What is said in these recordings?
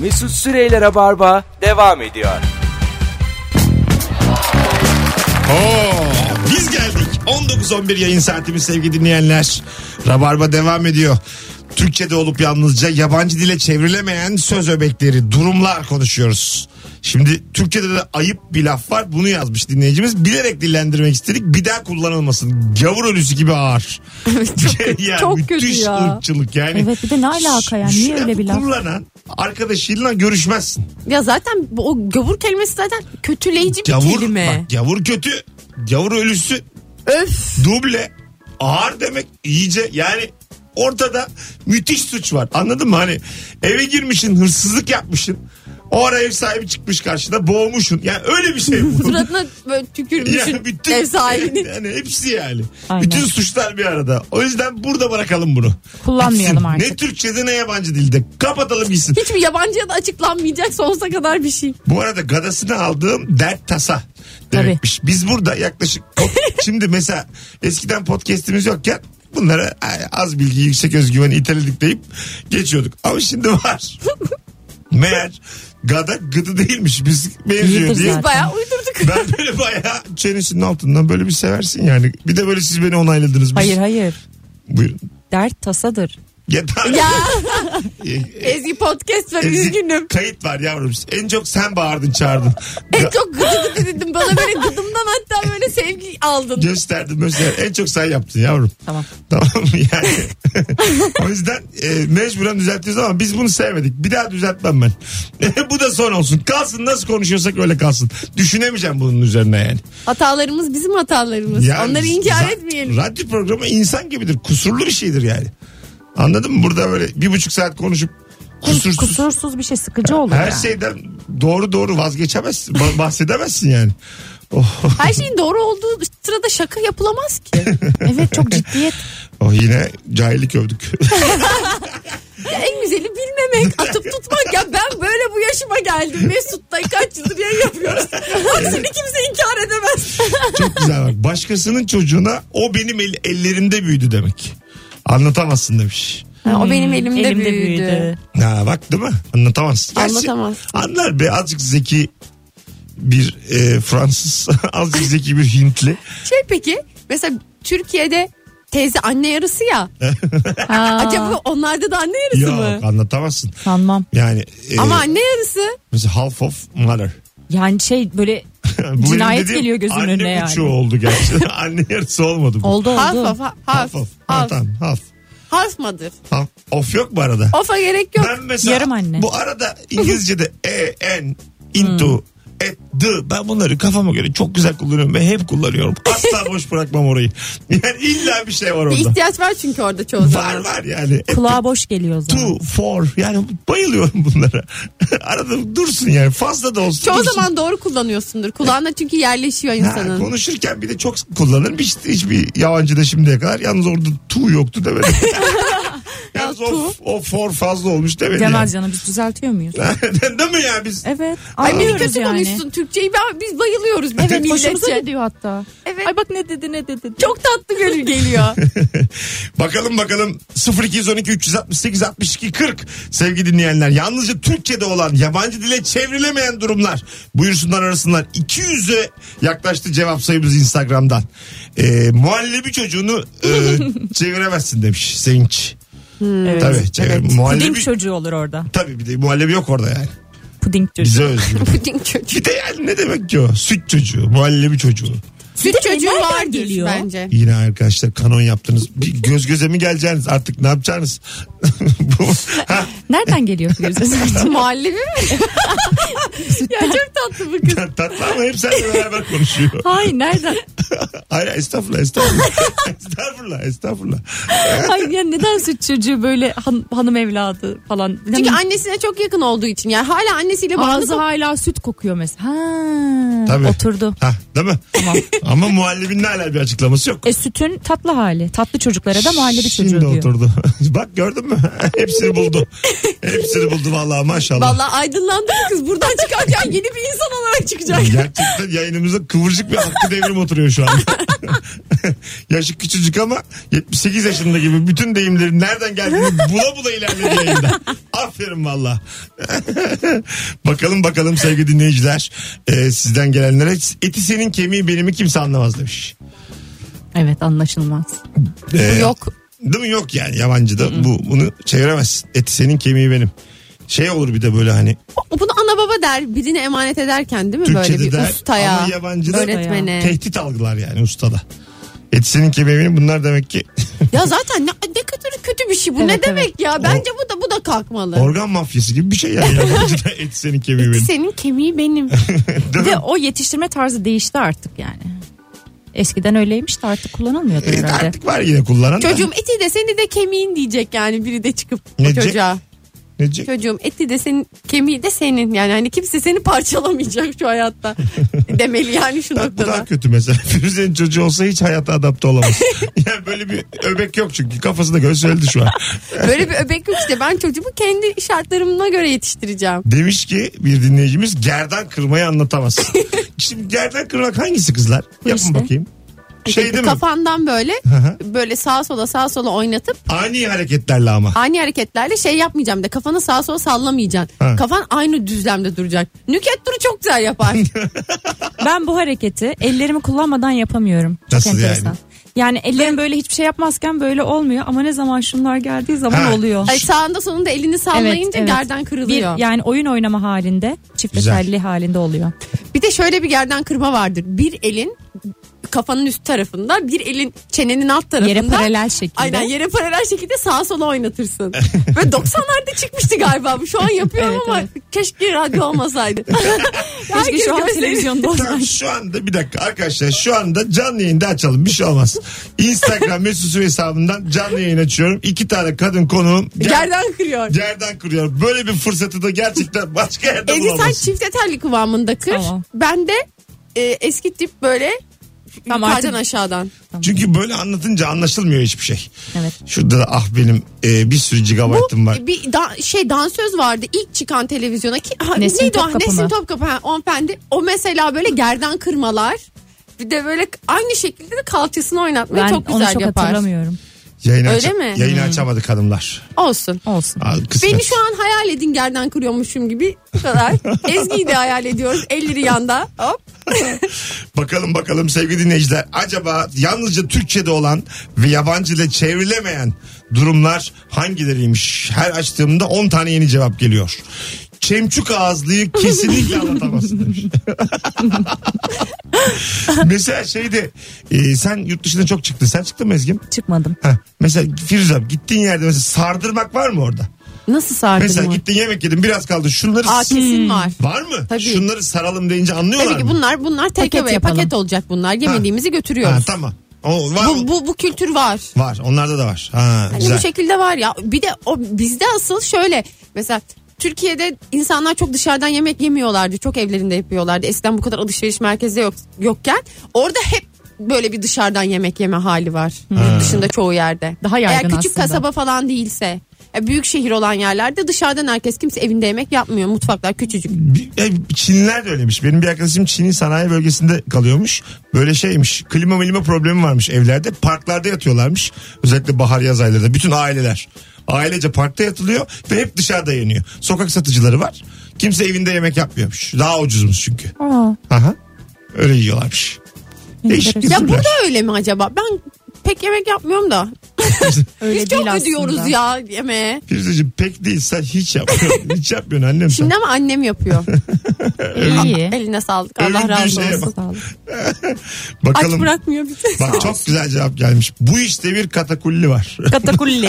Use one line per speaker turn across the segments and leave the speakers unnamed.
Mesut Süreyler'e barba devam ediyor.
Oo, biz geldik. 19-11 yayın saatimiz sevgili dinleyenler. Rabarba devam ediyor. Türkçe'de olup yalnızca yabancı dile çevrilemeyen söz öbekleri, durumlar konuşuyoruz. Şimdi Türkçe'de de ayıp bir laf var. Bunu yazmış dinleyicimiz. Bilerek dillendirmek istedik. Bir daha kullanılmasın. Gavur ölüsü gibi ağır.
çok,
Ya
çok
müthiş
kötü ya.
ırkçılık yani.
Evet, bir de ne alaka yani? Niye
Şu
öyle bir laf?
Kullanan arkadaşıyla görüşmezsin.
Ya zaten bu- o gavur kelimesi zaten kötüleyici bir
Gavur,
kelime.
bak gavur kötü. Gavur ölüsü
Öf.
duble ağır demek iyice yani ortada müthiş suç var anladın mı hani eve girmişsin hırsızlık yapmışsın o ara ev sahibi çıkmış karşına boğmuşsun yani öyle bir şey bu.
Suratına böyle tükürmüşsün
Yani bütün,
ev sahibinin.
Yani hepsi yani.
Aynen.
Bütün suçlar bir arada. O yüzden burada bırakalım bunu.
Kullanmayalım
Bitsin.
artık.
Ne Türkçe'de ne yabancı dilde. Kapatalım gitsin.
Hiçbir yabancıya da açıklanmayacak sonsuza kadar bir şey.
Bu arada gadasını aldığım dert tasa demekmiş. Biz burada yaklaşık şimdi mesela eskiden podcast'imiz yokken bunlara e, az bilgi yüksek özgüven iteledik deyip geçiyorduk. Ama şimdi var. Meğer gada gıdı değilmiş biz benziyor
İyidir
diye.
zaten.
Bayağı uydurduk.
Ben böyle bayağı çenesinin altından böyle bir seversin yani. Bir de böyle siz beni onayladınız. Biz-
Hayır hayır.
Buyurun.
Dert tasadır.
Ya,
ya Ezgi podcast ver üzgünüm.
Kayıt var yavrum. En çok sen bağırdın çağırdın.
En çok gıdı gıdı dedim. Bana böyle gıdımdan hatta böyle sevgi aldın.
Gösterdim gösterdim. En çok sen yaptın yavrum.
Tamam.
Tamam mı yani? o yüzden e, mecburen düzeltiyoruz ama biz bunu sevmedik. Bir daha düzeltmem ben. Bu da son olsun. Kalsın nasıl konuşuyorsak öyle kalsın. Düşünemeyeceğim bunun üzerine yani.
Hatalarımız bizim hatalarımız.
yani
Onları inkar
za-
etmeyelim.
Radyo programı insan gibidir. Kusurlu bir şeydir yani. Anladın mı? Burada böyle bir buçuk saat konuşup kusursuz.
Kusursuz bir şey sıkıcı olur
Her
ya.
şeyden doğru doğru vazgeçemezsin. ba- bahsedemezsin yani. Oh,
Her şeyin doğru olduğu sırada şaka yapılamaz ki.
Evet çok ciddiyet.
oh yine cahillik övdük.
Ya en güzeli bilmemek, atıp tutmak. Ya ben böyle bu yaşıma geldim. Mesut'la kaç yıldır yayın yapıyoruz. Aksini kimse inkar edemez.
Çok güzel bak. Başkasının çocuğuna o benim el- ellerimde büyüdü demek. Anlatamazsın demiş.
Ha, o benim Hmm, elimde,
Elimde
büyüdü.
büyüdü.
Ha bak değil mi? Anlatamazsın.
Anlatamaz.
Anlar be azıcık zeki bir e, Fransız, azıcık zeki bir Hintli.
Şey peki mesela Türkiye'de teyze anne yarısı ya. Acaba onlarda da anne yarısı
Yok
mı?
anlatamazsın.
Sanmam.
Yani e,
Ama anne yarısı.
mesela half of mother.
Yani şey böyle
Bu benim
Cinayet
dediğim
geliyor gözümün
anne
önüne
buçuğu
yani.
oldu gerçekten. anne yarısı olmadı bu.
oldu
Half
oldu.
of, ha-
Half
half,
of. Ha,
half,
tamam half.
half mıdır?
Half. Of yok mu arada?
Of'a gerek yok.
Ben mesela
Yarım anne.
bu arada İngilizce'de e, en,
Hmm.
into, at, the ben bunları kafama göre çok güzel kullanıyorum ve hep kullanıyorum. Asla boş bırakmam orayı. Yani illa bir şey var
Bir
orada.
ihtiyaç var çünkü orada çoğu
Var
zaman.
var yani. E,
Kulağa boş geliyor o zaman.
To, for yani bayılıyorum bunlara. Arada dursun yani fazla da olsun.
Çoğu
dursun.
zaman doğru kullanıyorsundur. Kulağına çünkü yerleşiyor
Ha,
insanın.
konuşurken bir de çok kullanırım. Hiç, hiçbir yabancı da şimdiye kadar. Yalnız orada tu yoktu demedim. Yalnız o, o for fazla olmuş demedim.
Demez canım biz düzeltiyor muyuz?
yani. Değil mi ya biz?
Evet.
Ay bir
Anlıyoruz
kötü
yani.
konuşsun Türkçeyi. Ben, biz bayılıyoruz. Evet,
Evet hoşumuza
milletçe.
gidiyor hatta.
Evet.
Ay bak ne dedi ne dedi.
Çok tatlı gönül geliyor.
Bakalım bakalım 0212 368 62 40 sevgili dinleyenler yalnızca Türkçe'de olan yabancı dile çevrilemeyen durumlar buyursunlar arasınlar 200'e yaklaştı cevap sayımız Instagram'dan ee, muhallebi çocuğunu e, çeviremezsin demiş Sevinç
Evet.
tabii çevir,
Puding
muhallebi
çocuğu olur orada.
tabii bir de muhallebi yok orada yani
Puding çocuğu.
bize özgü
Puding çocuğu.
bir de yani ne demek ki o süt çocuğu muhallebi çocuğu
Süt çocuğu
nereden
vardır
geliyor?
bence.
Yine arkadaşlar kanon yaptınız. Bir göz göze mi geleceksiniz artık ne yapacaksınız? Bu- Ha,
Nereden geliyor Firuze?
Muhallebi mi? ya çok tatlı bu kız.
Tatlı ama hep seninle beraber konuşuyor.
Hayır nereden?
Hayır estağfurullah estağfurullah. estağfurullah estağfurullah.
Hayır ya neden süt çocuğu böyle han- hanım evladı falan. Hani
Çünkü
Hemen
annesine çok yakın olduğu için. Yani hala annesiyle
ağzı
bağlı.
hala süt kokuyor mesela. Ha,
Tabii.
oturdu.
Ha, değil mi? Ama muhallebinin hala bir açıklaması yok.
E sütün tatlı hali. Tatlı çocuklara da muhallebi çocuğu
Şimdi
diyor.
oturdu. Bak gördün mü? Hepsini buldu. Hepsini buldu vallahi maşallah.
Vallahi aydınlandı bu kız. Buradan çıkarken yeni bir insan olarak çıkacak.
Gerçekten yayınımıza kıvırcık bir hakkı devrim oturuyor şu an. Yaşı küçücük ama 78 yaşında gibi bütün deyimlerin nereden geldiğini bula bula ilerledi yayında. Aferin Aferin valla. bakalım bakalım sevgili dinleyiciler. Ee, sizden gelenlere eti senin kemiği benimi kimse anlamaz demiş.
Evet anlaşılmaz.
Ee,
Bu yok.
Değil mi? Yok yani yabancıda bu, bunu çeviremezsin. Eti senin kemiği benim. Şey olur bir de böyle hani
Bunu ana baba der birine emanet ederken değil mi
Türkçe'de
böyle bir
der,
ustaya,
ama yabancıda-
öğretmene.
tehdit algılar yani ustada. Eti senin kemiği benim bunlar demek ki
Ya zaten ne, ne kadar kötü bir şey bu
Evet,
ne
evet.
demek ya bence bu da bu da kalkmalı.
organ mafyası gibi bir şey yani yabancıda eti senin kemiği benim.
Senin kemiği benim.
Ve o yetiştirme tarzı değişti artık yani. Eskiden öyleymiş de artık kullanılmıyordu
Evet,
herhalde.
artık var yine kullanan. da.
Çocuğum eti de seni de kemiğin diyecek yani biri de çıkıp
Ne
o
diyecek?
çocuğa.
Ne diyecek?
Çocuğum eti de senin kemiği de senin yani hani kimse seni parçalamayacak şu hayatta demeli yani şu
Bak bu daha
noktada.
kötü mesela. Firuze'nin çocuğu olsa hiç hayata adapte olamaz. yani böyle bir öbek yok çünkü kafasına göre söyledi şu an.
Böyle bir öbek yok işte ben çocuğumu kendi şartlarıma göre yetiştireceğim.
Demiş ki bir dinleyicimiz gerdan kırmayı anlatamaz. Şimdi gerdan kırmak hangisi kızlar? Yapın
işte.
bakayım. Şey değil mi?
Kafandan böyle
hı.
böyle sağa sola sağa sola oynatıp
Ani hareketlerle ama.
ani hareketlerle şey yapmayacağım da kafanı sağa sola sallamayacaksın.
Ha.
Kafan aynı düzlemde duracak. Nüket duru çok güzel yapar.
Ben bu hareketi ellerimi kullanmadan yapamıyorum. Çok
Nasıl yani?
enteresan. Yani? ellerim böyle hiçbir şey yapmazken böyle olmuyor ama ne zaman şunlar geldiği zaman
Ha.
oluyor.
Ay, sağında sonunda elini sallayınca
evet.
gerden kırılıyor.
Bir, yani oyun oynama halinde, çifte
Güzel.
telli halinde oluyor.
Bir de şöyle bir gerden kırma vardır. Bir elin kafanın üst tarafında bir elin çenenin alt tarafında.
Yere paralel şekilde.
Aynen yere paralel şekilde sağa sola oynatırsın. Böyle 90'larda çıkmıştı galiba bu. Şu an yapıyorum
Evet,
ama keşke radyo olmasaydı.
Keşke şu an
Herkes görseydi.
televizyonda
Tamam
olsaydı.
şu anda bir dakika arkadaşlar şu anda canlı yayında açalım bir şey olmaz. Instagram mesut Süre hesabından canlı yayın açıyorum. İki tane kadın konuğum ger-
Gerden kırıyor.
gerdan kırıyor. Böyle bir fırsatı da gerçekten başka yerde
Ege sen
bulamazsın.
çift eterli kıvamında kır.
Tamam.
Ben de e, eski tip böyle
Tamam,
yukarıdan
artık-
aşağıdan.
Çünkü böyle anlatınca anlaşılmıyor hiçbir şey.
Evet.
Şurada da ah benim e, bir sürü gigabaytım var.
Bu bir da- şey dansöz vardı ilk çıkan televizyona ki ha,
Nesin
neydi o?
Topkapı
Nesin
mı?
Topkapı ha, hanımefendi. O mesela böyle gerdan kırmalar bir de böyle aynı şekilde de kalçasını oynatmayı
Ben
çok
onu
güzel
çok
yapar.
hatırlamıyorum.
Yayın
Öyle
aça-
mi?
Yayını açamadık hanımlar.
Olsun.
Olsun.
Aa, kısmet.
Beni şu an hayal edin gerdan kırıyormuşum gibi bu kadar. Ezgi'yi de hayal ediyoruz. Elleri yanda. Hop.
Bakalım bakalım sevgili dinleyiciler. Acaba yalnızca Türkçe'de olan ve yabancı ile çevrilemeyen durumlar hangileriymiş? Her açtığımda 10 tane yeni cevap geliyor. Çemçük ağızlıyı kesinlikle anlatamazsın demiş. Mesela şeyde e, sen yurt dışına çok çıktın. Sen çıktın mı Ezgi'm?
Çıkmadım.
Heh, mesela Firuzam gittiğin yerde mesela sardırmak var mı orada?
Nasıl sardı
Mesela Hmm.
mı?
gittin yemek yedin biraz kaldı. Şunları
Aa kesin var.
var mı?
Tabii.
Şunları saralım deyince anlıyorlar
Tabii ki
mı?
bunlar bunlar tek
Paket
paket,
yapalım.
paket olacak bunlar. Yemediğimizi
Ha,
götürüyoruz.
tamam. O, var mı?
bu, bu, bu kültür var.
Var. Onlarda da var. Ha,
Yani
güzel.
Hani bu şekilde var ya. Bir de o bizde asıl şöyle mesela Türkiye'de insanlar çok dışarıdan yemek yemiyorlardı. Çok evlerinde yapıyorlardı. Eskiden bu kadar alışveriş merkezi yok yokken orada hep böyle bir dışarıdan yemek yeme hali var.
Hmm.
Yurt dışında çoğu yerde.
Daha yaygın
Eğer küçük
aslında.
kasaba falan değilse. ya büyük şehir olan yerlerde dışarıdan herkes kimse evinde yemek yapmıyor. Mutfaklar küçücük.
Bir- e, Çinliler de öyleymiş. Benim bir arkadaşım Çin'in sanayi bölgesinde kalıyormuş. Böyle şeymiş. Klima milima problemi varmış evlerde. Parklarda yatıyorlarmış. Özellikle bahar yaz aylarında. Bütün aileler. Ailece parkta yatılıyor ve hep dışarıda yeniyor. Sokak satıcıları var. Kimse evinde yemek yapmıyormuş. Daha ucuzmuş çünkü.
Aa,
Aha. Öyle yiyorlarmış. Değişik
enteresan.
Ya
kültürler.
burada öyle mi acaba? Ben pek yemek yapmıyorum da.
Öyle
Biz çok
değil
ödüyoruz
aslında.
ya yemeğe.
Firuzeciğim pek değil sen hiç yapmıyorsun. hiç yapmıyorsun annem sen.
Şimdi ama annem yapıyor.
İyi.
Eline sağlık.
Övündüğü
Allah razı
şeye
olsun.
bak.
Sağ ol.
Aç
Bakalım.
bırakmıyor bizi.
Bak çok güzel cevap gelmiş. Bu işte bir katakulli var.
Katakulli.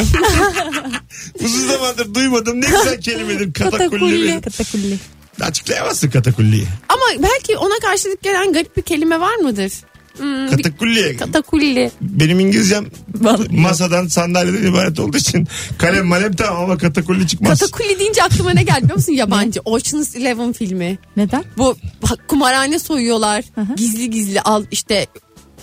Uzun zamandır duymadım ne güzel kelimedir katakulli.
Katakulli.
Açıklayamazsın katakulliyi.
Ama belki ona karşılık gelen garip bir kelime var mıdır? Hmm, bir
Katakulliye.
katakulli.
Benim İngilizcem
Vallahi.
masadan sandalyeden ibaret olduğu için kalem malem tamam ama katakulli çıkmaz.
Katakulli deyince aklıma ne geldi biliyor musun? Yabancı. Ocean's Eleven filmi.
Neden?
Bu bak, kumarhane soyuyorlar.
hı.
Gizli gizli al işte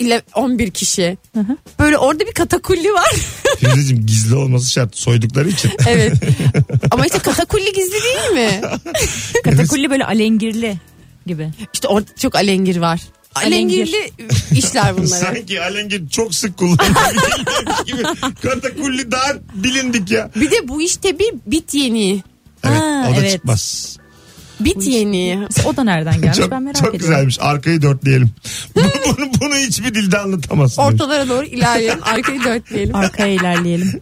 ile 11 kişi.
hı.
Böyle orada bir katakulli var.
Firuzeciğim gizli olması şart soydukları için.
evet. Ama işte katakulli gizli değil mi?
Katakulli böyle alengirli gibi.
İşte orada çok alengir var.
Alengir.
Alengirli işler bunlar.
Sanki alengir çok sık kullanılıyor gibi. Katakulli daha bilindik ya.
Bir de bu işte bir bit yeni.
O da
evet.
çıkmaz.
Bit yeni.
Mesela O da nereden gelmiş
çok
ben merak
çok
ediyorum.
güzelmiş. Arkayı dörtleyelim. bunu, bunu hiçbir dilde anlatamazsın. demiş.
Ortalara doğru ilerleyelim. Arkayı dörtleyelim.
Arkaya ilerleyelim.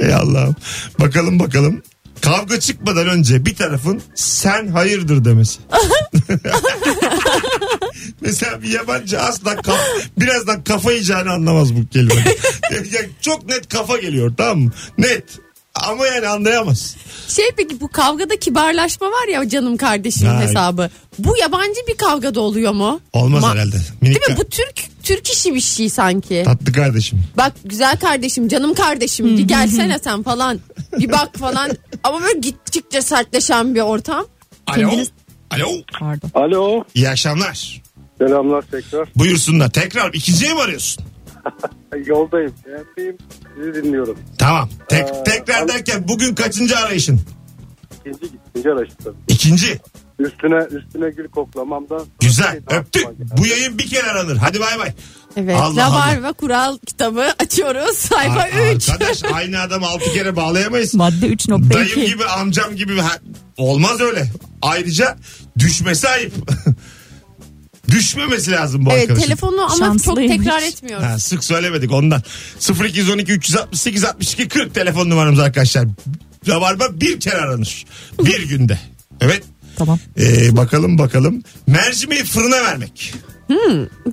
Ey Allah'ım. Bakalım bakalım. Kavga çıkmadan önce bir tarafın sen hayırdır demesi. Mesela bir yabancı asla kaf- birazdan kafa yiyeceğini anlamaz bu kelime. Yani çok net kafa geliyor tamam mı? Net. Ama yani anlayamaz.
Şey peki bu kavgada kibarlaşma var ya canım kardeşim
Ha.
hesabı. Bu yabancı bir kavgada oluyor mu?
Olmaz
Ma-
herhalde. Minik
Değil mi?
ka-
Bu Türk Türk işi bir şey sanki.
Tatlı kardeşim.
Bak güzel kardeşim, canım kardeşim bir gelsene sen falan. Bir bak falan. Ama böyle gittikçe sertleşen bir ortam.
Alo.
Kendiniz-
Alo.
Pardon.
Alo.
İyi akşamlar.
Selamlar tekrar.
Buyursunlar. Tekrar ikinciye mi arıyorsun?
Yoldayım. Evdeyim. Sizi dinliyorum.
Tamam. Tek,
Ee,
tekrar
abi-
derken bugün kaçıncı arayışın?
İkinci ikinci araçta.
İkinci.
Üstüne üstüne gül koklamamda.
Güzel. Öptük. Bu yayın bir şey. kere aranır. Hadi bay bay.
Evet.
Allah Allah.
Rabar ve kural kitabı açıyoruz. Sayfa
Ar-
3.
Arkadaş aynı adam altı kere bağlayamayız.
Madde
Dayım
3.2.
gibi amcam gibi. ha- Olmaz öyle. Ayrıca düşmesi ayıp. Düşmemesi lazım bu
Evet,
arkadaşın.
telefonu ama çok
Şanslıymış.
tekrar etmiyoruz.
Ha, sık söylemedik ondan. 0212 368 62 40 telefon numaramız arkadaşlar. Rabarba bir kere aranır. Bir günde. Evet.
Tamam.
Ee, bakalım bakalım. Mercimeği fırına vermek.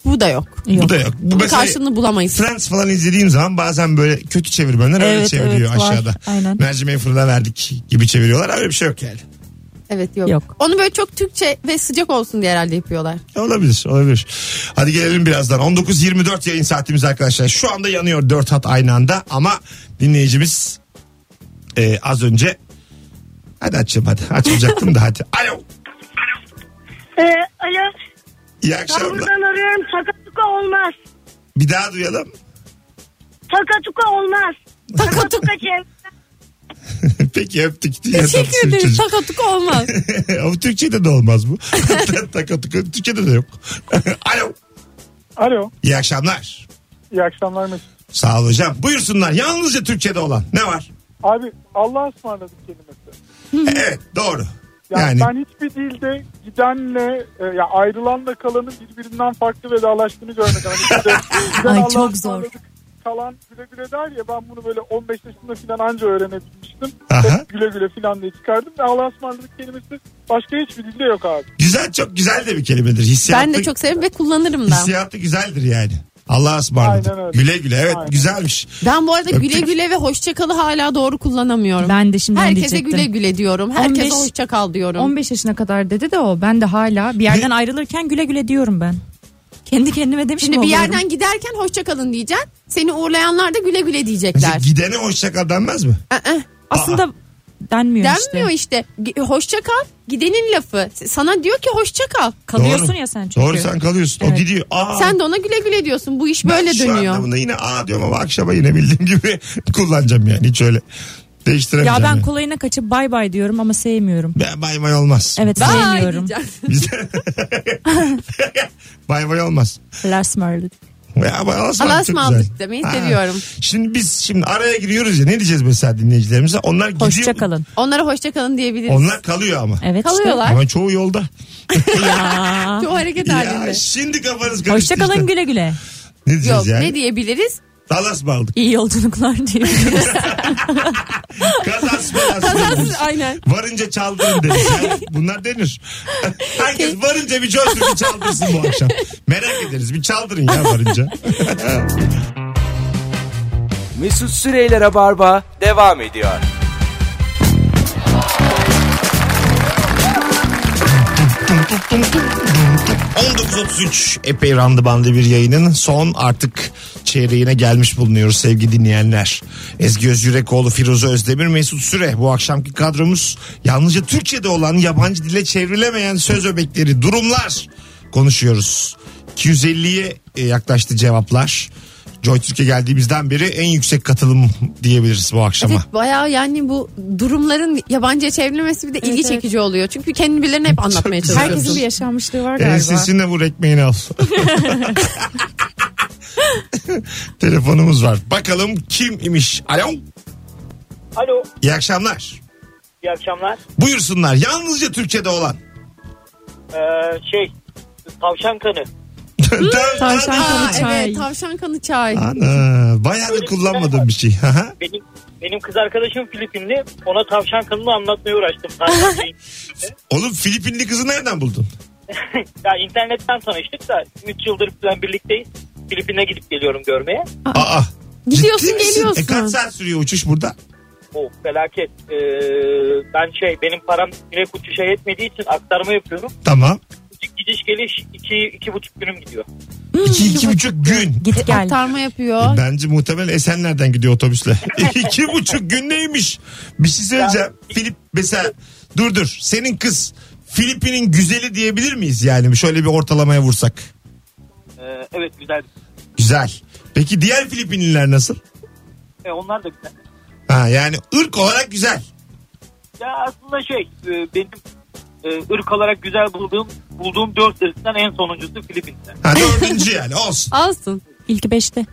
Bu da yok.
Bu
Yok.
da yok. Bu
Bunun
mesela-
karşılığını bulamayız.
Friends falan izlediğim zaman bazen böyle kötü çevirmenler öyle
Evet,
çeviriyor
evet, var.
aşağıda.
Aynen.
Mercimeği fırına verdik gibi çeviriyorlar. Öyle bir şey yok yani.
Evet yok.
Yok.
Onu böyle çok Türkçe ve sıcak olsun diye herhalde yapıyorlar.
Olabilir olabilir. Hadi gelelim birazdan. 19.24 yayın saatimiz arkadaşlar. Şu anda yanıyor 4 hat aynı anda ama dinleyicimiz e, az önce hadi açayım hadi açmayacaktım da hadi. Alo.
Ee, alo.
İyi
Ben
akşamlar.
buradan arıyorum. Sakatuka olmaz.
Bir daha duyalım.
Sakatuka olmaz. Sakatuka çev.
Peki öptük.
Teşekkür ederim. Sakatuk olmaz.
Ama Türkçe'de de olmaz bu. Takatuka Türkçe'de de yok. Alo.
Alo.
İyi akşamlar.
iyi akşamlar Mesut.
Sağ ol hocam. Buyursunlar. Yalnızca Türkçe'de olan. Ne var?
Abi Allah'a ısmarladık kelimesi.
Evet doğru. Yani,
Yani, ben hiçbir dilde gidenle e, ya ayrılanla kalanın birbirinden farklı vedalaştığını görmedim. Hani işte, giden
Ay,
Allah'a
çok
ısmarladık, Kalan güle güle der ya ben bunu böyle 15 yaşında filan anca öğrenebilmiştim.
Aha.
Hep güle güle filan diye çıkardım. Ve Allah'a ısmarladık kelimesi başka hiçbir dilde yok abi.
güzel çok güzel de bir kelimedir. Hissiyatlı,
ben de çok severim ve kullanırım da.
hissiyatlı güzeldir yani. Allah'a ısmarladık.
Aynen öyle.
Güle güle evet
Aynen.
güzelmiş.
Ben bu arada
Öptük.
güle güle ve hoşçakalı hala doğru kullanamıyorum.
Ben de şimdi onu
Herkese
diyecektim.
güle güle diyorum. Herkese
15
hoşça kal diyorum.
15 yaşına kadar dedi de o. Ben de hala bir yerden ayrılırken güle güle diyorum ben. Kendi kendime demiş
Şimdi
mi
bir
oluyorum?
yerden giderken hoşça kalın diyeceksin. Seni uğurlayanlar da güle güle
Mesela
diyecekler.
gidene hoşça kal denmez mi?
Aa,
Aslında denmiyor,
Denmiyor
işte.
işte. G- Hoşça kal gidenin lafı. Sana diyor ki hoşça kal.
Kalıyorsun
Doğru.
ya sen çünkü.
Doğru sen kalıyorsun. O
Evet.
gidiyor. Aa,
Sen de ona güle güle diyorsun. Bu iş
ben
böyle
şu
dönüyor.
anlamında yine aa diyorum ama akşama yine bildiğim gibi kullanacağım yani. Hiç öyle
Ya
değiştiremeyeceğim.
ben
yani.
kolayına kaçıp bay bay diyorum ama sevmiyorum.
Ben bay bay olmaz.
Evet
Bye
sevmiyorum.
diyeceksin.
Bizde- bay bay olmaz.
Last Merlin.
Ya bay olmaz.
Allah'a
Çok
ısmarladık
güzel.
demeyi
Ha.
seviyorum.
Şimdi biz şimdi araya giriyoruz ya ne diyeceğiz mesela dinleyicilerimize? Onlar gidiyor.
Hoşça kalın.
Onlara hoşça kalın diyebiliriz.
Onlar kalıyor ama.
Evet
Kalıyorlar.
Ama çoğu yolda.
Çoğu hareket
ya
halinde.
şimdi kafanız karıştı.
Hoşça kalın
işte.
güle güle.
Ne diyeceğiz
Yok
yani?
ne diyebiliriz?
Talas mı aldık?
İyi yolculuklar diyebiliriz.
Kazas mı aldık?
Aynen.
Varınca çaldırın deriz. Yani bunlar denir. Herkes varınca bir coşsun bir çaldırsın bu akşam. Merak ederiz bir çaldırın ya varınca.
Mesut Süreyler'e barba devam ediyor.
Tum tum tum tum tum tum. 19.33 epey randıbanlı bir yayının son artık çeyreğine gelmiş bulunuyoruz sevgili dinleyenler. Ezgi Özgürekoğlu, Firuze Özdemir, Mesut Süre bu akşamki kadromuz yalnızca Türkçe'de olan yabancı dile çevrilemeyen söz öbekleri durumlar konuşuyoruz. 250'ye e, yaklaştı cevaplar. Joy Türk'e geldiğimizden beri en yüksek katılım diyebiliriz bu akşama.
Evet bayağı yani bu durumların yabancıya çevrilmesi bir de ilgi çekici oluyor. Çünkü kendi birilerini hep anlatmaya
güzel.
çalışıyorsun.
Herkesin bir yaşanmışlığı var galiba.
Ensesine vur ekmeğini al. Telefonumuz var. Bakalım kim imiş? Alo.
Alo.
İyi akşamlar.
İyi akşamlar.
Buyursunlar. Yalnızca Türkiye'de olan.
Ee, şey tavşan kanı.
Tavşan
Aa,
kanı çay.
evet tavşan kanı çay.
Ana, bayağı da kullanmadığım bir şey. Aha.
Benim benim kız arkadaşım Filipinli. Ona tavşan kanını anlatmaya uğraştım. Tavşan değil.
Oğlum Filipinli kızı nereden buldun?
ya internetten tanıştık da 3 yıldır falan birlikteyiz. Filipin'e gidip geliyorum görmeye.
Aa.
Gidiyorsun,
ciddi misin?
geliyorsun.
E kaç saat sürüyor uçuş burada?
O felaket. Ee, ben şey benim param direkt uçuşa yetmediği için aktarma yapıyorum.
Tamam.
Gidiş geliş 2 iki, iki buçuk günüm gidiyor.
İki, iki buçuk gün.
Git gel.
Aktarma yapıyor.
Bence muhtemel Esenler'den gidiyor otobüsle. İki buçuk gün neymiş? Bir şey söyleyeceğim. Filip mesela dur dur. Senin kız Filipin'in güzeli diyebilir miyiz yani? Şöyle bir ortalamaya vursak.
Ee, evet güzel.
Güzel. Peki diğer Filipinliler nasıl?
Ee, onlar da güzel.
Ha yani ırk olarak güzel.
Ya aslında şey e, benim e, ırk olarak güzel bulduğum bulduğum dört ırktan en sonuncusu Filipinler.
Ha dördüncü yani olsun.
Alsın.
İlk beşte.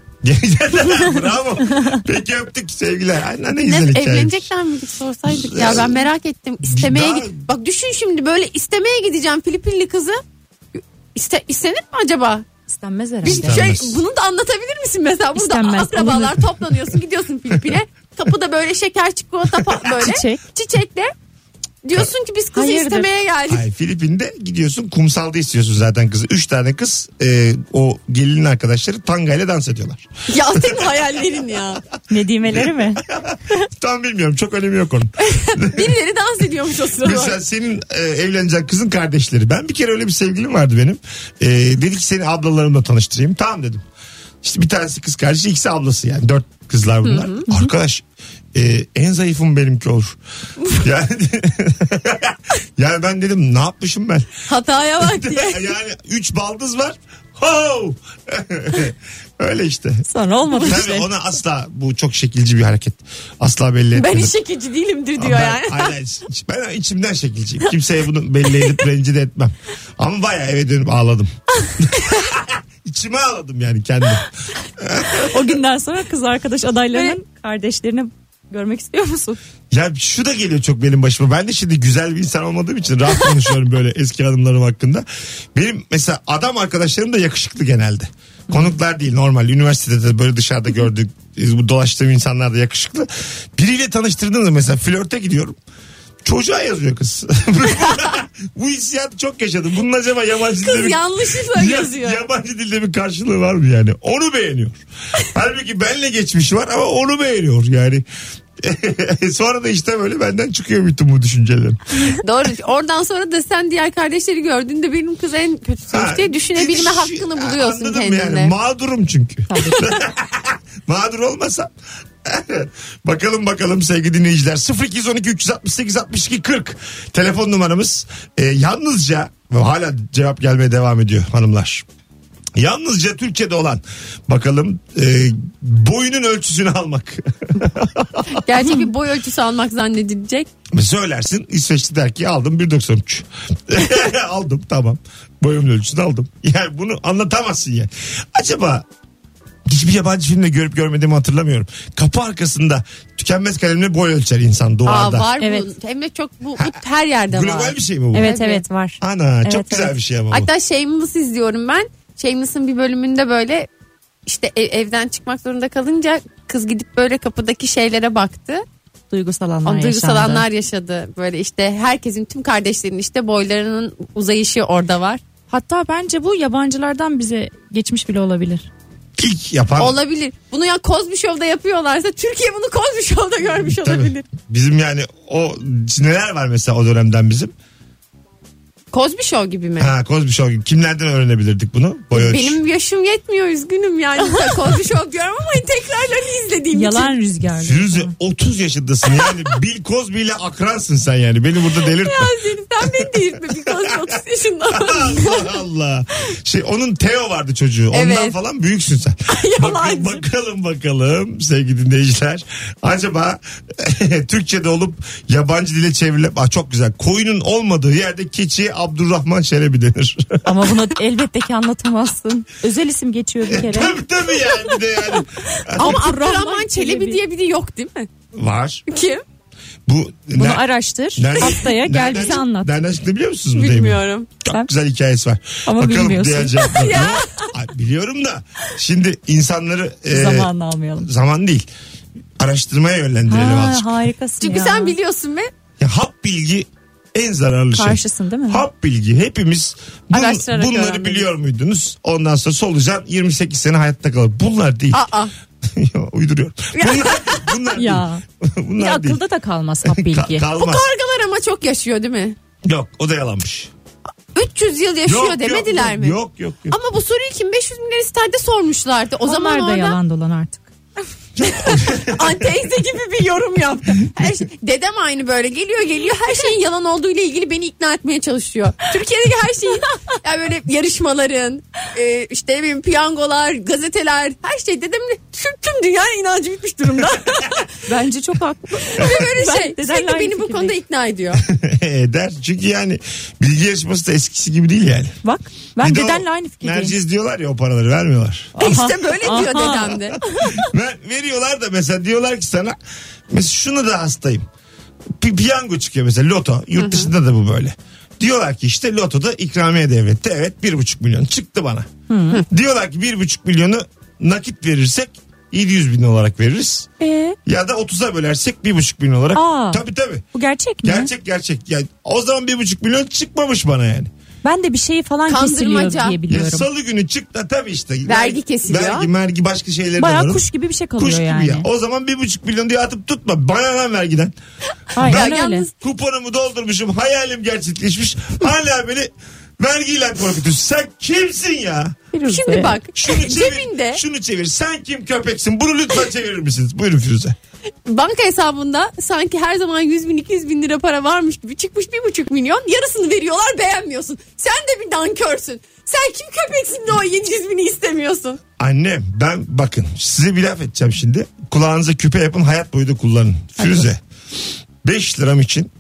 Bravo. Peki öptük sevgiler. Aynen ne
Ne,
güzel hikaye.
evlenecekler miydik sorsaydık ya ben merak ettim. İstemeye
Daha-
git. Bak düşün şimdi böyle istemeye gideceğim Filipinli kızı. İste, istenir mi acaba?
İstenmez
Bir
herhalde.
şey,
İstenmez.
bunu da anlatabilir misin mesela? Burada
İstenmez.
akrabalar toplanıyorsun gidiyorsun Filipin'e. Kapıda böyle şeker çikolata pa- böyle.
Çiçek.
Çiçekle. Diyorsun ki biz kızı
Hayırdır?
istemeye geldik.
Ay Filipin'de gidiyorsun kumsalda istiyorsun zaten kızı. Üç tane kız e, o gelinin arkadaşları tanga ile dans ediyorlar.
Ya senin hayallerin ya.
Nedimeleri mi?
Tam bilmiyorum çok önemi yok onun.
Birileri dans ediyormuş o
Mesela
sırada.
senin e, evlenecek kızın kardeşleri. Ben bir kere öyle bir sevgilim vardı benim. E, dedi ki seni ablalarımla tanıştırayım. Tamam dedim. İşte bir tanesi kız kardeşi ikisi ablası yani dört kızlar bunlar. Arkadaş e, en zayıfım benimki olur. yani, yani ben dedim ne yapmışım ben?
Hataya bak diye.
yani 3 baldız var. Ho! Öyle işte.
Sonra olmadı
Tabii
işte.
ona asla bu çok şekilci bir hareket. Asla belli
Ben
etmedim.
hiç şekilci değilimdir diyor
ben,
yani.
aynen. Hiç- ben içimden şekilciyim. Kimseye bunu belli edip rencide etmem. Ama bayağı eve dönüp ağladım. İçime ağladım yani kendim.
O günden sonra kız arkadaş adaylarının kardeşlerini görmek istiyor musun?
Ya şu da geliyor çok benim başıma. Ben de şimdi güzel bir insan olmadığım için rahat konuşuyorum böyle eski hanımlarım hakkında. Benim mesela adam arkadaşlarım da yakışıklı genelde. Konuklar değil normal üniversitede de böyle dışarıda gördük bu dolaştığım insanlar da yakışıklı. Biriyle tanıştırdınız mesela flörte gidiyorum. Çocuğa yazıyor kız. bu hissiyatı çok yaşadım. Bunun acaba yabancı dilde
Kız
bir-
yanlışlıkla
ya-
yazıyor.
Yabancı dilde bir karşılığı var mı yani? Onu beğeniyor. Halbuki benle geçmiş var ama onu beğeniyor yani. Sonra da işte böyle benden çıkıyor bütün bu düşüncelerim.
Doğru. Oradan sonra da sen diğer kardeşleri gördüğünde benim kız en kötüsüymüş
Ha,
diye düşünebilme
hiç-
hakkını buluyorsun
Anladım
kendine.
yani mağdurum çünkü. Mağdur olmasam. bakalım bakalım sevgili dinleyiciler 0212 368 62 40 telefon numaramız Ee, yalnızca ve hala cevap gelmeye devam ediyor hanımlar yalnızca Türkiye'de olan bakalım e, boyunun ölçüsünü almak
Gerçek bir boy ölçüsü almak zannedilecek.
Söylersin İsveçli der ki aldım 1.93. aldım tamam. Boyumun ölçüsünü aldım. Yani bunu anlatamazsın ya. Acaba hiçbir yabancı filmde görüp görmediğimi hatırlamıyorum. Kapı arkasında tükenmez kalemle boy ölçer insan
Aa,
duvarda.
var bu.
Evet.
Hem de çok bu, bu her yerde var.
Global bir şey mi bu?
Evet
Tabii.
evet var.
Ana
Evet,
çok güzel
evet.
bir şey ama bu.
Hatta Shameless izliyorum ben. Shameless'ın bir bölümünde böyle işte ev- evden çıkmak zorunda kalınca kız gidip böyle kapıdaki şeylere baktı.
Duygusal anlar
Onun duygusal
yaşandı.
anlar yaşadı. Böyle işte herkesin tüm kardeşlerinin işte boylarının uzayışı orada var.
Hatta bence bu yabancılardan bize geçmiş bile olabilir.
İlk yapan
Olabilir. Bunu ya Cosby Show'da yapıyorlarsa Türkiye bunu Cosby Show'da görmüş
Tabii.
olabilir.
bizim yani o neler var mesela o dönemden bizim?
Cosby Show gibi mi?
Ha Cosby Show gibi. kimlerden öğrenebilirdik bunu? Boy ölçü.
Benim yaşım yetmiyor üzgünüm yani. Cosby Show diyorum ama tekrarlarını izlediğim
Yalan
için.
rüzgarı.
Firuze 30 yaşındasın yani Bill Cosby ile akransın sen yani beni burada delirtme.
Senin sen beni delirtme bir Cosby 30 yaşında.
Allah Allah. Şey onun Teo vardı çocuğu. Ondan
Evet.
falan büyüksün sen. Bak-
Yalancı.
bakalım bakalım sevgili dinleyiciler. Acaba Türkçe'de olup yabancı dile çevrile... Aa, çok güzel. Koyunun olmadığı yerde keçi Abdurrahman Şerebi denir.
Ama bunu elbette ki anlatamazsın. Özel isim geçiyor bir kere.
tabii tabii yani. Bir de yani.
ama
Abdurrahman
Abdurrahman Çelebi
Çelebi.
diye biri yok değil mi?
Var.
Kim?
Bu
Bunu
ne-
araştır.
nereden-
Haftaya gel
nereden
bize
çık-
anlat.
Nereden çıktı biliyor musunuz bu deyimi?
Bilmiyorum.
Çok
Ben-
güzel hikayesi var.
Ama
Bakalım
bilmiyorsun.
diğer cevaplar. Yok, ay, Biliyorum da şimdi insanları e,
Zaman almayalım.
zaman değil araştırmaya yönlendirelim
Ha,
azıcık.
harikasın
Çünkü
ya.
sen biliyorsun ve
Ya, hap bilgi en zararlı şey.
Karşısın değil mi?
Hap bilgi hepimiz bun-
Araştırarak
bunları
öğrendik.
biliyor muydunuz? Ondan sonra solucan 28 sene hayatta kalır. Bunlar değil.
aa
Ya, Uyduruyorum. Bunlar, bunlar
Ya.
değil.
Bir de
Bunlar değil.
akılda da kalmaz hap bilgi.
Ka-
bu
kalmaz.
kargalar ama çok yaşıyor değil mi?
Yok o da yalanmış.
300 yıl yaşıyor demediler
yok,
mi?
Yok yok yok.
Ama bu soruyu kim 500 Bulgaristan'da sormuşlardı. O zaman
Onlar da
orada
yalan dolan artık.
anteyze gibi bir yorum yaptı. Her şey- dedem aynı böyle geliyor geliyor her şeyin yalan olduğu ile ilgili beni ikna etmeye çalışıyor. Türkiye'deki her şeyin yani böyle yarışmaların e, işte ne bileyim piyangolar, gazeteler her şey dedemin tüm, tüm dünya inancı bitmiş durumda.
Bence çok haklı.
Ve böyle
Ben
şey
dedemle
sürekli beni
aynı
bu
fikirdeyim.
konuda ikna ediyor.
Eder. E, Çünkü yani bilgi yarışması da eskisi gibi değil yani.
Bak ben
Bir de o
dedenle aynı fikirdeyim.
Mercedes diyorlar ya o paraları vermiyorlar.
işte böyle diyor
aha.
dedem de.
Ver, veriyorlar da mesela diyorlar ki sana mesela şunu da hastayım. Pi- piyango çıkıyor mesela loto. Yurt dışında da bu böyle. Diyorlar ki işte lotoda ikramiye devlette evet bir buçuk milyon çıktı bana. Diyorlar ki bir buçuk milyonu nakit verirsek 700 bin olarak veririz.
Ee,
Ya da 30'a bölersek bir buçuk milyon olarak.
Aa.
Tabii tabii.
bu gerçek mi?
Gerçek gerçek. Yani o zaman bir buçuk milyon çıkmamış bana yani.
Ben de bir şeyi falan kesiliyor
Kandırmaca.
diye
Ya
biliyorum.
salı günü çık da tabii işte.
Vergi kesiliyor.
Vergi, mergi başka şeyleri de var
Baya
onun.
kuş gibi bir şey kalıyor
Kuş gibi
yani.
ya. O zaman bir buçuk milyon diye atıp tutma. Bana lan vergiden.
Aynen
Ya
öyle.
yalnız-
Kuponumu doldurmuşum. Hayalim gerçekleşmiş. Hala beni vergiyle korkutuyorsun. Sen kimsin ya?
Firuze.
Şimdi bak
Şunu çevir.
cebinde
Şunu çevir. Sen kim köpeksin? Bunu lütfen çevirir misiniz? Buyurun Firuze.
banka hesabında sanki her zaman 100 bin 200 bin lira para varmış gibi çıkmış bir buçuk milyon yarısını veriyorlar beğenmiyorsun. Sen de bir dankörsün. Sen kim köpeksin de o 700 bini istemiyorsun.
Annem ben bakın size bir laf edeceğim şimdi. Kulağınıza küpe yapın hayat boyu da kullanın. Firuze 5 liram için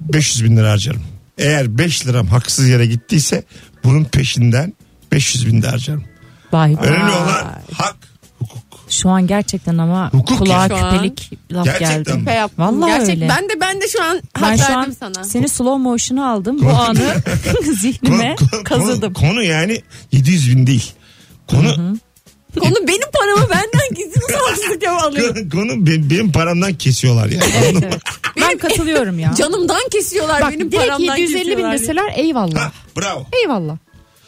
500 bin lira harcarım. Eğer 5 liram haksız yere gittiyse bunun peşinden 500 bin de harcarım.
Vay be.
Önemli olan hak, hukuk.
Şu an gerçekten ama
Hukuk
kulağa
ya. Şu an.
küpelik laf
Gerçekten mi?
geldi.
Şey yaptım.
Vallahi
Gerçek,
öyle.
Ben de ben de şu an
Ben
hak
şu
verdim
an
sana.
seni slow motion'a aldım. Bu anı zihnime
Konu- konu-
kazıdım.
Konu, konu yani 700 bin değil. Konu,
Konu benim paramı benden gizli haksızlık yap alıyor.
konu benim, benim paramdan kesiyorlar yani. Anladın mı?
Ben katılıyorum ya.
Canımdan kesiyorlar
Bak
benim
direkt
paramdan
750 bin
kesiyorlar.
deseler eyvallah.
Ha, bravo.
Eyvallah.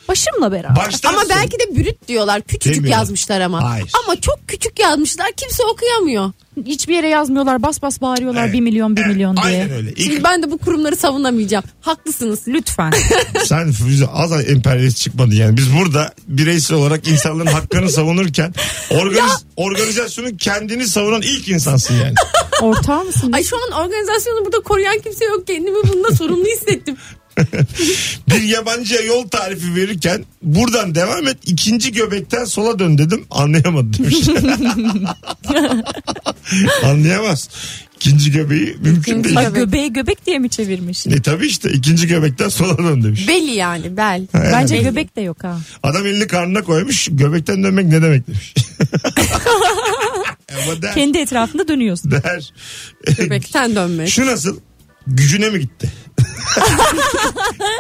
Başımla beraber.
Baştan
Ama
sona.
belki de bürüt diyorlar. Küçücük
Demiyorlar.
yazmışlar ama.
Hayır.
Ama çok küçük yazmışlar. Kimse okuyamıyor.
Hiçbir yere yazmıyorlar. Bas bas bağırıyorlar
Evet.
1 milyon 1
Evet,
milyon diye.
Aynen öyle. İlk-
Şimdi ben de bu kurumları savunamayacağım. Haklısınız.
Lütfen.
Sen Firuze az emperyalist çıkmadı yani. Biz burada bireysel olarak insanların hakkını savunurken organiz, organizasyonun kendini savunan ilk insansın yani.
Ortağı mısın?
Ay şu an organizasyonu burada koruyan kimse yok. Kendimi bununla sorumlu hissettim.
Bir yabancıya yol tarifi verirken buradan devam et ikinci göbekten sola dön dedim anlayamadı demiş. Anlayamaz. İkinci göbeği mümkün
İkinci
değil.
Ay göbeği göbek diye mi çevirmiş?
E tabi işte ikinci göbekten sola dön demiş.
Beli yani bel.
Bence
Aynen.
göbek de yok ha.
Adam elini karnına koymuş göbekten dönmek ne demek demiş. Ama der,
Kendi etrafında dönüyorsun.
der.
Göbekten dönmek.
Şu nasıl? Gücüne mi gitti?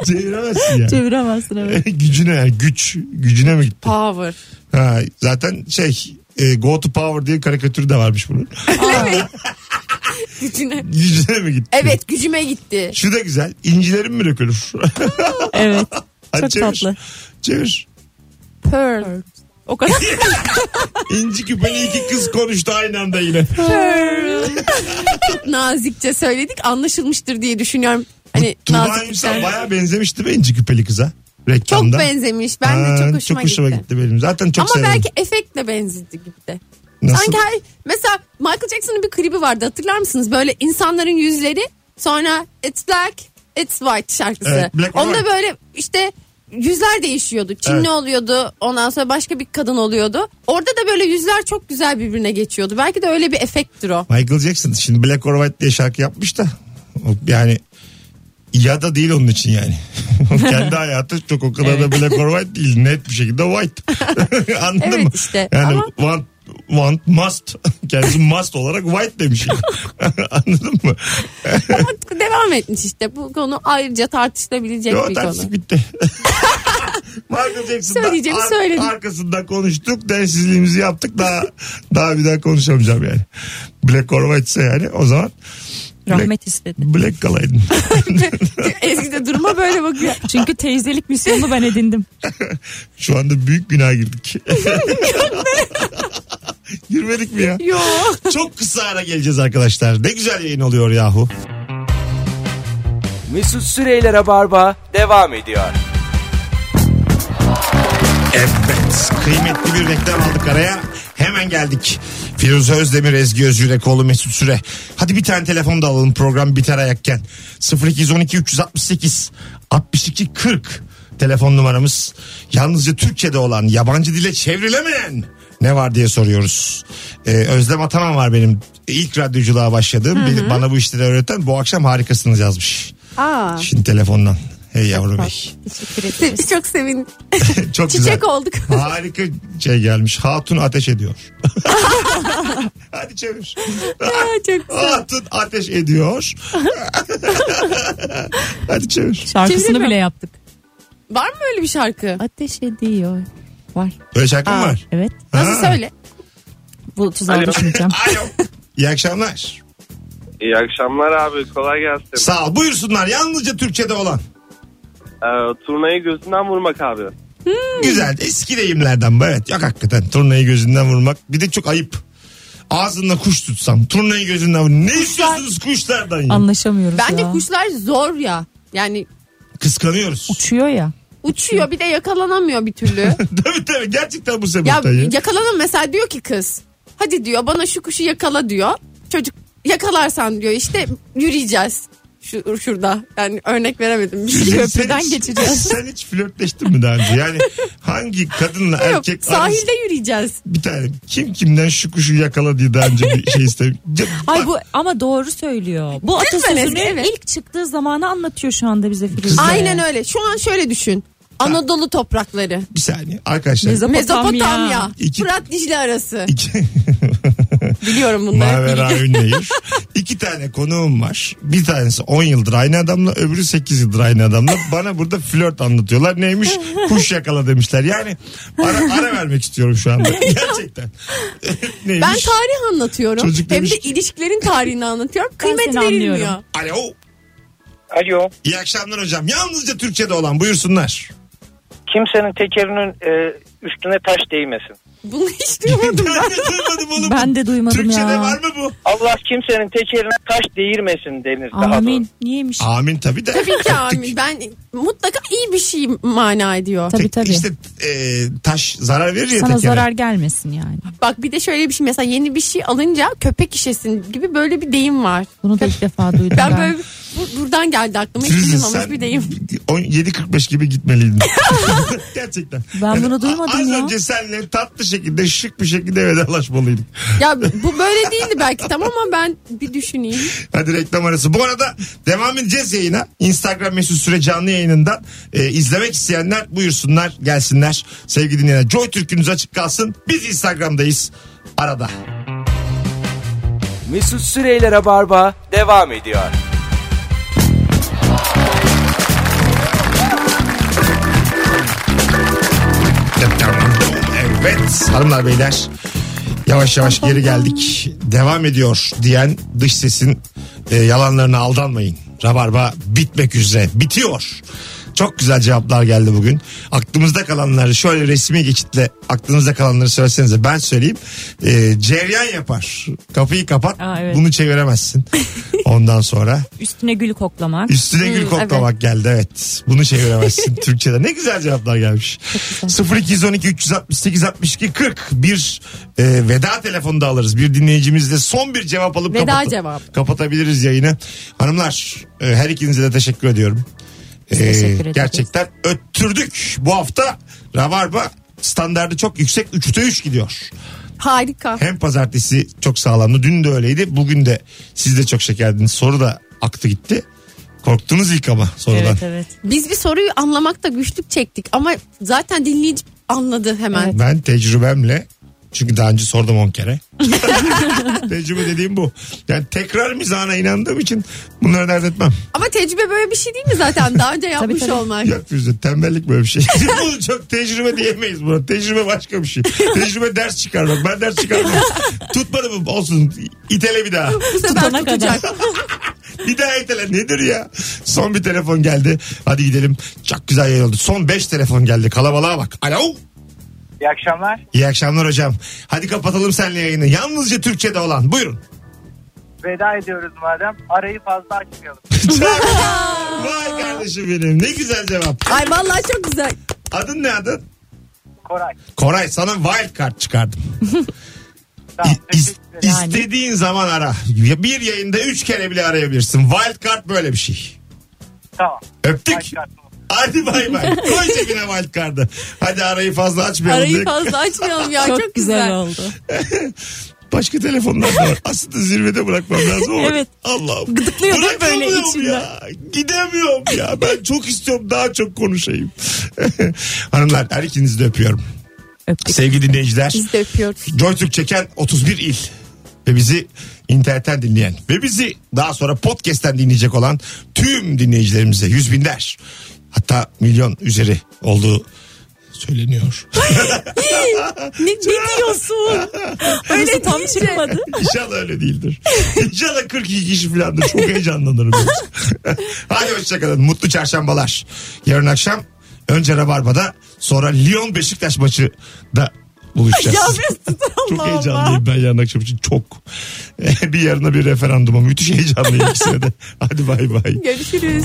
Çeviremezsin yani.
Çeviremezsin evet.
gücüne yani güç. Gücüne mi gitti?
Power.
Ha, zaten şey e, Go to Power diye karikatürü de varmış bunun.
Gücüne.
Gücüne mi gitti?
Evet gücüme gitti.
Şu da güzel. İncilerim mi dökülür?
evet.
Hadi
Çok
çevir.
tatlı.
Çevir.
Pearl.
O kadar.
İnci küpeli iki kız konuştu aynı anda yine.
Çok nazikçe söyledik anlaşılmıştır diye düşünüyorum. Hani
Tuğba
nazik bir
Ünsal
şey.
baya benzemiş değil mi İnci küpeli kıza?
Çok
Reklamda.
benzemiş. Ben de
Aa,
çok hoşuma, gitti.
benim. Zaten çok
Ama
severim.
belki efektle benzedi gibi de.
Nasıl?
Sanki her- mesela Michael Jackson'ın bir klibi vardı hatırlar mısınız? Böyle insanların yüzleri sonra It's Black, It's White şarkısı.
Evet, Black or
Onda
White.
böyle işte yüzler değişiyordu. Çinli
Evet.
oluyordu. Ondan sonra başka bir kadın oluyordu. Orada da böyle yüzler çok güzel birbirine geçiyordu. Belki de öyle bir efekttir o.
Michael Jackson şimdi Black or White diye şarkı yapmış da o yani ya da değil onun için yani. Kendi hayatı çok o kadar da black or white değil. Net bir şekilde white. Anladın
Evet
mı?
işte
Yani
ama-
one want must. Kendisi must olarak white demiş. Anladın mı?
Ama devam etmiş işte. Bu konu ayrıca tartışılabilecek
Yok
bir konu.
tartışık bitti. Michael Jackson'dan
Söyleyeceğimi söyledim.
arkasından konuştuk. Densizliğimizi yaptık. Daha daha bir daha konuşamayacağım yani. Black or white ise yani o zaman
Rahmet istedi.
black kalaydın.
Ezgi de duruma böyle bakıyor.
Çünkü teyzelik misyonunu ben edindim.
Şu anda büyük günah girdik. Girmedik mi ya?
Yok.
Çok kısa ara geleceğiz arkadaşlar. Ne güzel yayın oluyor yahu.
Mesut Süreyler'e barba devam ediyor.
Evet. Kıymetli bir reklam aldık araya. Hemen geldik. Firuze Özdemir, Ezgi Özgürekoğlu, Mesut Süre. Hadi bir tane telefon da alalım program biter ayakken. 0212 368 62 40 telefon numaramız. Yalnızca Türkçe'de olan, yabancı dile çevrilemeyen ne var diye soruyoruz. Ee, Özlem Ataman var benim ilk radyoculuğa başladığım. Beni- Bana bu işleri öğreten bu akşam harikasınız yazmış.
Aa.
Şimdi telefondan. Hey yavrum hey.
Çok sevin.
Çok güzel.
Çiçek olduk.
Harika şey gelmiş. Hatun ateş ediyor. Hadi çevir.
Çok güzel.
Hatun ateş ediyor. Hadi çevir.
Şarkısını
Çevirme.
bile yaptık.
Var mı öyle bir şarkı?
Ateş ediyor. Var.
Böyle şarkı mı var?
Evet.
Nasıl
Ha.
söyle?
Bu tuzağa düşmeyeceğim.
Alo. İyi akşamlar.
İyi akşamlar abi kolay gelsin.
Sağ ol. Buyursunlar. Yalnızca Türkçe'de olan.
Ee, turnayı gözünden vurmak abi.
Hmm.
Güzel. Eski deyimlerden bu. Evet. Yok hakikaten. Turnayı gözünden vurmak. Bir de çok ayıp. Ağzında kuş tutsam. Turnayı gözünden vur. Ne istiyorsunuz kuşlardan ya?
Anlaşamıyoruz
Bence
ya.
kuşlar zor ya. Yani
Kıskanıyoruz.
uçuyor ya.
uçuyor bir de yakalanamıyor bir türlü.
tabii tabii. Gerçekten bu
ya
sebepten ya.
yakalanam mesela diyor ki kız. Hadi diyor bana şu kuşu yakala diyor. Çocuk yakalarsan diyor işte yürüyeceğiz. Şu, şurada. Yani örnek veremedim. Bir şey.
Sen
Köprüden
hiç-
geçeceğiz.
Sen hiç flörtleştin mi daha önce? Yani hangi kadınla
Yok,
erkek arası-
sahilde yürüyeceğiz.
bir tane kim kimden şu kuşu yakala diye daha önce bir şey istedim.
Ay bu ama doğru söylüyor. Bu
Lütfen
atasözünü
Ezgi, evet.
ilk çıktığı zamanı anlatıyor şu anda bize Firuze.
Aynen öyle. Şu an şöyle düşün. Anadolu toprakları.
bir saniye arkadaşlar.
Mezopotamya.
Mezopotamya.
İki-
Fırat Dicle arası.
İki,
Biliyorum bunları.
Mavera Ünlüyür. İki tane konuğum var. Bir tanesi 10 yıldır aynı adamla öbürü 8 yıldır aynı adamla. Bana burada flört anlatıyorlar. Neymiş? Kuş yakala demişler. Yani ara, ara vermek istiyorum şu anda. Gerçekten. Neymiş?
Ben tarih anlatıyorum.
Çocuk
Hem
demiş
de
ki-
ilişkilerin tarihini anlatıyorum. Kıymet
seni
verilmiyor.
anlıyorum.
Alo.
Alo.
İyi akşamlar hocam. Yalnızca Türkçe'de olan buyursunlar.
Kimsenin tekerinin e, üstüne taş değmesin.
Bunu hiç duymadım.
Ben de duymadım oğlum.
Ben de duymadım
Türkçe'de
ya.
var mı bu?
Allah kimsenin tekerine taş değirmesin denir daha
Amin.
doğrusu.
Niyeymiş?
Amin tabii de.
Tabii ki abi. Ben mutlaka iyi bir şey mana ediyor.
Tabii tabii.
İşte e, taş zarar verir ya
Sana
tekere.
zarar gelmesin yani.
Bak bir de şöyle bir şey mesela yeni bir şey alınca köpek şişesin gibi böyle bir deyim var.
Bunu da ilk defa duydum ben.
Ben böyle bu- buradan geldi aklıma hiç
Firuze
duymamış
sen
bir deyim.
7.45 gibi gitmeliydin. Gerçekten.
Ben bunu duymadım
az
ya.
önce senle tatlı şekilde şık bir şekilde vedalaşmalıydık.
Ya bu böyle değildi belki tamam ama ben bir düşüneyim.
Hadi reklam arası. Bu arada devam edeceğiz yayına. Instagram mesut süre canlı yayınından e, izlemek isteyenler buyursunlar gelsinler. Sevgili dinleyenler Joy Türk'ünüz açık kalsın. Biz Instagram'dayız. Arada.
Mesut Süreyler'e barba devam ediyor.
Evet hanımlar beyler yavaş yavaş geri geldik. Devam ediyor diyen dış sesin e, yalanlarına aldanmayın. Rabarba bitmek üzere bitiyor. Çok güzel cevaplar geldi bugün. Aklımızda kalanları şöyle resmi geçitle aklınızda kalanları söylesenize ben söyleyeyim. E, cereyan yapar. Kapıyı kapat
Aa, evet.
bunu çeviremezsin. Ondan sonra
Üstüne gül koklamak.
Üstüne gül koklamak geldi evet. Bunu çeviremezsin Türkçe'de. Ne güzel cevaplar gelmiş. 0212 368 62 40 bir e, veda telefonu da alırız. Bir dinleyicimizle son bir cevap alıp
Veda cevabı.
kapatabiliriz yayını. Hanımlar e, her ikinize de teşekkür ediyorum. E,
teşekkür ederiz.
gerçekten öttürdük. Bu hafta Rabarba standardı çok yüksek 3'te 3 gidiyor.
Harika.
Hem pazartesi çok sağlamdı. Dün de öyleydi. Bugün de siz de çok şekerdiniz. Soru da aktı gitti. Korktunuz ilk ama sorudan.
Evet evet.
Biz bir soruyu anlamakta güçlük çektik ama zaten dinleyici anladı hemen.
Ben tecrübemle Çünkü daha önce sordum 10 kere. Tecrübe dediğim bu. Yani tekrar mizahına inandığım için bunları dert etmem.
Ama tecrübe böyle bir şey değil mi zaten? Daha önce yapmış
tabii.
olmak.
Yok Firuze tembellik böyle bir şey. Bunu çok tecrübe diyemeyiz buna. Tecrübe başka bir şey. Tecrübe ders çıkarmak. Ben ders çıkarmam. Tutmadı mı? Olsun. İtele bir daha.
Bu sefer
Tutana
tutacak.
Bir daha itele. Nedir ya? Son bir telefon geldi. Hadi gidelim. Çok güzel yayın oldu. Son 5 telefon geldi. Kalabalığa bak. Alo.
İyi akşamlar.
İyi akşamlar hocam. Hadi kapatalım seninle yayını. Yalnızca Türkçe'de olan. Buyurun.
Veda ediyoruz madem. Arayı fazla açmayalım.
Vay kardeşim benim. Ne güzel cevap.
Ay vallahi çok güzel.
Adın ne adın?
Koray.
Koray sana wild card çıkardım.
Tamam.
İ- is-
teşekkür ederim.
istediğin zaman ara. Ya Bir yayında üç kere bile arayabilirsin. Wild card böyle bir şey.
Tamam.
Öptük.
Başka-
Hadi bay bay. Koy cebine wild card'ı. Hadi arayı fazla açmayalım.
Arayı
dedik.
fazla açmayalım ya. çok, güzel.
oldu.
Başka telefonlar da var. Aslında zirvede bırakmam lazım ama.
Evet.
Allah'ım.
Gıdıklıyor değil mi böyle
Bırakamıyorum
içinden?
ya. Gidemiyorum ya. Ben çok istiyorum daha çok konuşayım. Hanımlar her ikinizi de öpüyorum.
Öptük.
Sevgili dinleyiciler.
Biz de öpüyoruz.
Joytürk çeken 31 il ve bizi internetten dinleyen ve bizi daha sonra podcast'ten dinleyecek olan tüm dinleyicilerimize yüz binler hatta milyon üzeri olduğu söyleniyor.
Ne, ne diyorsun? Öyle tam çıkmadı.
İnşallah öyle değildir. İnşallah 42 kişi filandır. Çok heyecanlanırım. Hadi hoşçakalın. Mutlu çarşambalar. Yarın akşam önce Rabarba'da sonra Lyon Beşiktaş maçı da buluşacağız. Çok heyecanlıyım ben yarın akşam için çok. bir yarına bir referanduma müthiş heyecanlıyım ikisine de. Hadi bay bay.
Görüşürüz.